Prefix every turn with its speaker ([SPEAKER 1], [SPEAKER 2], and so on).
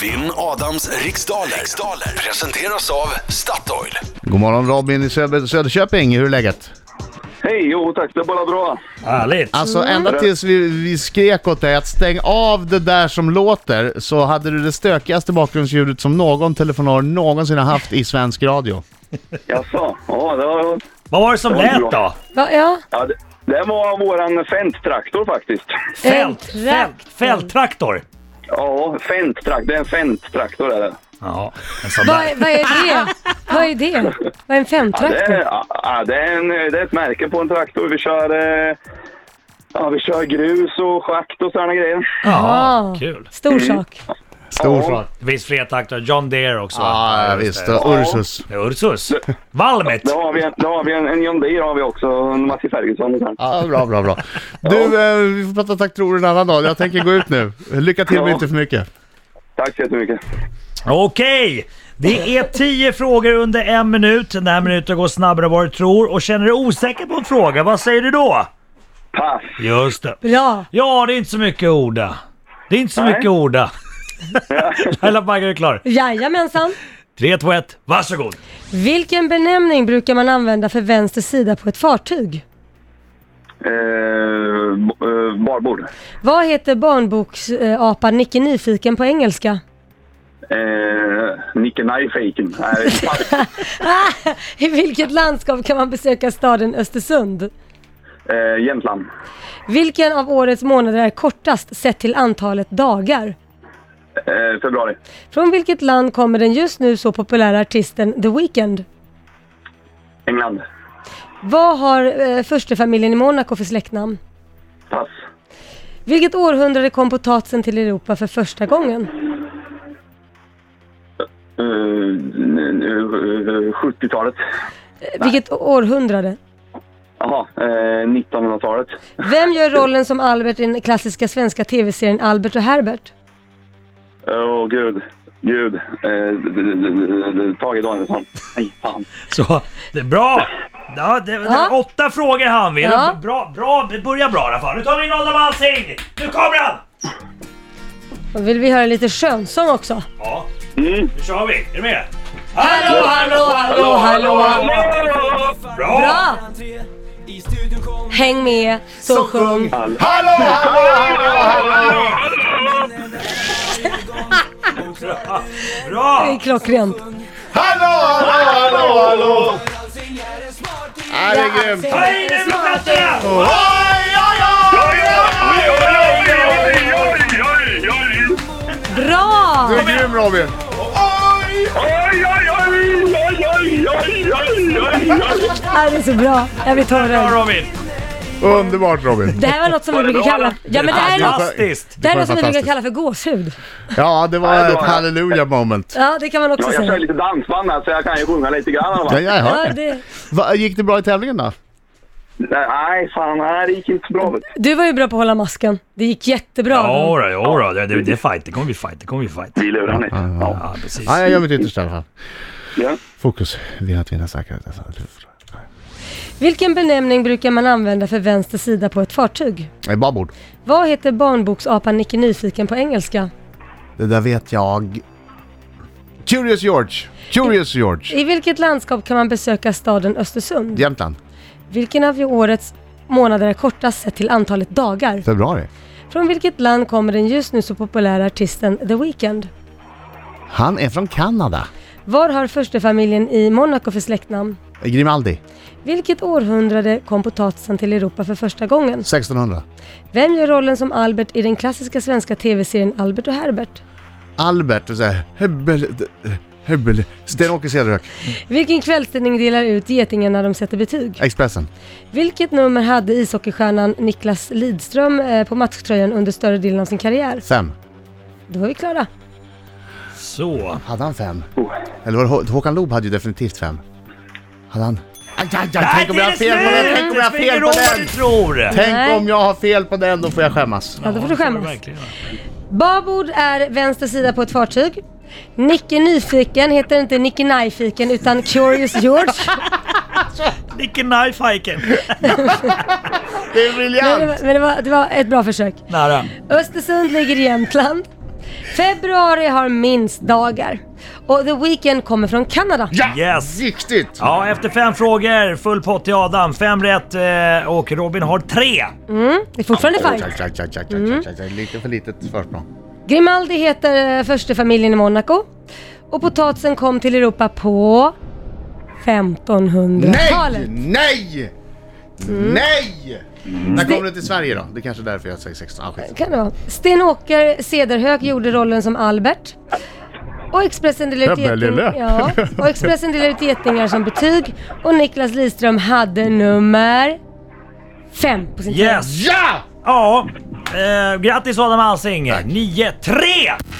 [SPEAKER 1] Vinn Adams riksdaler. riksdaler presenteras av Statoil.
[SPEAKER 2] God morgon Robin i Söder- Söderköping, hur är läget?
[SPEAKER 3] Hej, jo tack, det är bara bra.
[SPEAKER 4] Härligt!
[SPEAKER 2] Alltså ända
[SPEAKER 3] Mm.
[SPEAKER 2] tills vi, vi skrek åt dig att stäng av det där som låter så hade du det stökigaste bakgrundsljudet som någon telefonör någonsin har haft i svensk radio.
[SPEAKER 3] Jaså? Ja, det var...
[SPEAKER 4] Vad var det som
[SPEAKER 3] Det var
[SPEAKER 4] lät
[SPEAKER 3] bra.
[SPEAKER 4] då?
[SPEAKER 5] Va, ja.
[SPEAKER 3] Ja, det, det var våran Fendt-traktor faktiskt.
[SPEAKER 4] Fält,
[SPEAKER 5] En
[SPEAKER 4] fält, fälttraktor!
[SPEAKER 3] Ja, Fendt-traktor, det är en Fendt-traktor är det.
[SPEAKER 4] Ja, en sån
[SPEAKER 5] Vad,
[SPEAKER 4] där.
[SPEAKER 5] vad är det? Vad är det? Vad är en
[SPEAKER 3] Det
[SPEAKER 5] femtraktor?
[SPEAKER 3] är, ja, ja, det, är en, det är ett märke på en traktor. Vi kör, eh, ja, vi kör grus och schakt och sådana grejer.
[SPEAKER 4] Ja,
[SPEAKER 5] Ah.
[SPEAKER 4] kul.
[SPEAKER 5] Stor
[SPEAKER 3] Mm.
[SPEAKER 5] sak.
[SPEAKER 2] Stor
[SPEAKER 3] Ja.
[SPEAKER 2] sak.
[SPEAKER 4] Det finns fler traktorer. John Deere också.
[SPEAKER 2] Ja, ja
[SPEAKER 4] just
[SPEAKER 2] visst.
[SPEAKER 4] det.
[SPEAKER 2] Och Ursus.
[SPEAKER 4] Det är Ursus. Valmet!
[SPEAKER 3] Då har vi en, då har vi en, en John Deere har vi också, en Matti Ferguson och sånt.
[SPEAKER 2] Ja, bra, bra, bra. Du, eh, vi får prata traktorer en annan dag. Jag tänker gå ut nu. Lycka till, men
[SPEAKER 3] Ja.
[SPEAKER 2] inte för mycket.
[SPEAKER 3] Tack så jättemycket.
[SPEAKER 4] Okej! Det är tio frågor under en minut. Den här minuten går snabbare än vad du tror. Och känner du osäker på en fråga, vad säger du då?
[SPEAKER 3] Pass.
[SPEAKER 4] Just det.
[SPEAKER 5] Bra.
[SPEAKER 4] Ja, det är inte så mycket att orda. Det är inte så
[SPEAKER 3] Nej.
[SPEAKER 4] mycket att orda. Laila Bagge är klar.
[SPEAKER 5] Jajamensan.
[SPEAKER 4] 3, 2, 1. Varsågod!
[SPEAKER 5] Vilken benämning brukar man använda för vänster sida på ett fartyg?
[SPEAKER 3] Eh, b- eh, barbord.
[SPEAKER 5] Vad heter barnboksapan Nicke Nyfiken på engelska?
[SPEAKER 3] Eh, Nicke Knife-faken. Nej, pass.
[SPEAKER 5] I vilket landskap kan man besöka staden Östersund?
[SPEAKER 3] eh, Jämtland.
[SPEAKER 5] Vilken av årets månader är kortast sett till antalet dagar?
[SPEAKER 3] Eh, februari.
[SPEAKER 5] Från vilket land kommer den just nu så populära artisten The Weeknd?
[SPEAKER 3] England.
[SPEAKER 5] Vad har eh, furstefamiljen i Monaco för släktnamn?
[SPEAKER 3] Pass.
[SPEAKER 5] Vilket århundrade kom potatisen till Europa för första gången?
[SPEAKER 3] Eh, eh, eh, 70-talet.
[SPEAKER 5] Vilket århundrade?
[SPEAKER 3] Jaha, eh, 1900-talet.
[SPEAKER 5] Vem gör rollen som Albert i den klassiska svenska tv-serien Albert och Herbert?
[SPEAKER 3] Åh, oh, gud. Gud. Eh, d- d- d- d- Tage Danielsson. Nej, fan.
[SPEAKER 4] Så, det är bra! Ja, det, det var
[SPEAKER 5] Ja.
[SPEAKER 4] åtta frågor han vill.
[SPEAKER 5] Ja.
[SPEAKER 4] Bra, bra, det börjar bra i alla fall. Nu tar vi in Adam Alsing! Nu kommer han!
[SPEAKER 5] Och vill vi höra lite skönsång också?
[SPEAKER 4] Ja,
[SPEAKER 3] Mm.
[SPEAKER 4] nu kör vi. Är du med? Hallå, hallå,
[SPEAKER 5] hallå, hallå,
[SPEAKER 4] hallå! Bra!
[SPEAKER 5] Bra! Häng med, så sjung! Det är
[SPEAKER 4] Bra!
[SPEAKER 5] klockrent.
[SPEAKER 2] Ja, det är grymt.
[SPEAKER 4] Hej nu med fötterna!
[SPEAKER 5] Bra!
[SPEAKER 2] Du är grym Robin.
[SPEAKER 5] Ja, Det är så bra. Jag blir
[SPEAKER 4] Bra
[SPEAKER 5] tårögd.
[SPEAKER 4] Robin!
[SPEAKER 2] Underbart Robin.
[SPEAKER 5] Det här var något som vi brukar kalla... Ja, men det här är något,
[SPEAKER 4] Fantastiskt!
[SPEAKER 5] det här är
[SPEAKER 2] var
[SPEAKER 5] något som vi brukar
[SPEAKER 2] fantastiskt.
[SPEAKER 5] kalla för gåshud.
[SPEAKER 2] Ja, det
[SPEAKER 3] Ja,
[SPEAKER 2] var
[SPEAKER 3] det
[SPEAKER 2] ett
[SPEAKER 3] var det.
[SPEAKER 2] halleluja moment.
[SPEAKER 5] Ja, det kan man också
[SPEAKER 3] Ja, jag
[SPEAKER 5] säga.
[SPEAKER 3] kör lite dansband här, så jag kan ju sjunga lite grann i alla
[SPEAKER 2] Ja,
[SPEAKER 3] fall.
[SPEAKER 2] jag
[SPEAKER 5] Ja,
[SPEAKER 2] hörde.
[SPEAKER 5] det,
[SPEAKER 2] Va, gick det bra i tävlingen då?
[SPEAKER 3] Nej, fan. Nej, det gick inte så bra. vet du.
[SPEAKER 5] du var ju bra på att hålla masken. Det gick jättebra.
[SPEAKER 4] Jodå, jodå. Det, det, det är fight. Det kommer bli fight. Det kommer bli fight.
[SPEAKER 3] Vi lurar ni. Ja.
[SPEAKER 4] Ja, precis.
[SPEAKER 2] Ja, jag gör mitt yttersta i alla fall.
[SPEAKER 3] Ja.
[SPEAKER 2] Fokus. Vinna, vinna, säkerhet.
[SPEAKER 5] Vilken benämning brukar man använda för vänster sida på ett fartyg?
[SPEAKER 2] Nej, Eh, Babord.
[SPEAKER 5] Vad heter barnboksapan Nicke Nyfiken på engelska?
[SPEAKER 2] Det där vet jag. Curious George. Curious George.
[SPEAKER 5] I vilket landskap kan man besöka staden Östersund?
[SPEAKER 2] Jämtland.
[SPEAKER 5] Vilken av årets månader är kortast sett till antalet dagar?
[SPEAKER 2] Februari.
[SPEAKER 5] Från vilket land kommer den just nu så populära artisten The Weeknd?
[SPEAKER 2] Han är från Kanada.
[SPEAKER 5] Var har furstefamiljen i Monaco för släktnamn?
[SPEAKER 2] Grimaldi.
[SPEAKER 5] Vilket århundrade kom potatisen till Europa för första gången?
[SPEAKER 2] 1600.
[SPEAKER 5] Vem gör rollen som Albert i den klassiska svenska tv-serien Albert och Herbert?
[SPEAKER 2] Albert. eh, och så här, Hebbel. Hebbel. Sten-Åke Cederhök.
[SPEAKER 5] Vilken kvällstidning delar ut getingen när de sätter betyg?
[SPEAKER 2] Expressen.
[SPEAKER 5] Vilket nummer hade ishockeystjärnan Niklas Lidström eh, på matchtröjan under större delen av sin karriär?
[SPEAKER 2] Fem.
[SPEAKER 5] Då är vi klara.
[SPEAKER 4] Så.
[SPEAKER 2] Hade han fem?
[SPEAKER 3] Oh.
[SPEAKER 2] Eller var det Hå- Håkan Loob hade ju definitivt fem. Hade han? Aj, aj, aj, tänk om jag har fel på den! Tänk om jag har fel på den!
[SPEAKER 4] den!
[SPEAKER 2] Tänk
[SPEAKER 5] Nej.
[SPEAKER 2] om jag har fel på den, då får jag skämmas.
[SPEAKER 5] Ja, då får du skämmas. Babord är vänster sida på ett fartyg. Nicke Nyfiken heter inte Nicke Nyfiken utan Curious George.
[SPEAKER 4] Vilken knifehiken!
[SPEAKER 2] Det är
[SPEAKER 5] Men, det
[SPEAKER 2] briljant!
[SPEAKER 5] var, men det, var, det var ett bra försök.
[SPEAKER 4] Nära.
[SPEAKER 5] Östersund ligger i Jämtland. Februari har minst dagar. Och The Weeknd kommer från Kanada.
[SPEAKER 4] Yes!
[SPEAKER 2] Riktigt!
[SPEAKER 4] Ja, efter fem frågor, full pott till Adam. Fem rätt eh, och Robin har tre.
[SPEAKER 5] Det är fortfarande fint.
[SPEAKER 2] Tjack, tjack, tjack, tjack, tjack, tjack. Lite för litet försprång.
[SPEAKER 5] Grimaldi heter eh, första familjen i Monaco. Och potatisen kom till Europa på
[SPEAKER 2] Nej!
[SPEAKER 5] 1500-talet.
[SPEAKER 2] Nej!
[SPEAKER 5] Mm.
[SPEAKER 2] Nej! När kommer du till Sverige då? Det är kanske är därför jag säger 16. Ah, skit.
[SPEAKER 5] Kan det vara. Sten-Åker Cederhök gjorde rollen som Albert. Och Expressen delade ut,
[SPEAKER 2] Jag väljer
[SPEAKER 5] geting-
[SPEAKER 2] löp.
[SPEAKER 5] ja, och Expressen delade ut getingar som betyg. Och Niklas Lidström hade nummer fem på sin
[SPEAKER 4] Yes!
[SPEAKER 2] Ja!
[SPEAKER 4] Ja, eh, grattis Adam Alsing! 9-3!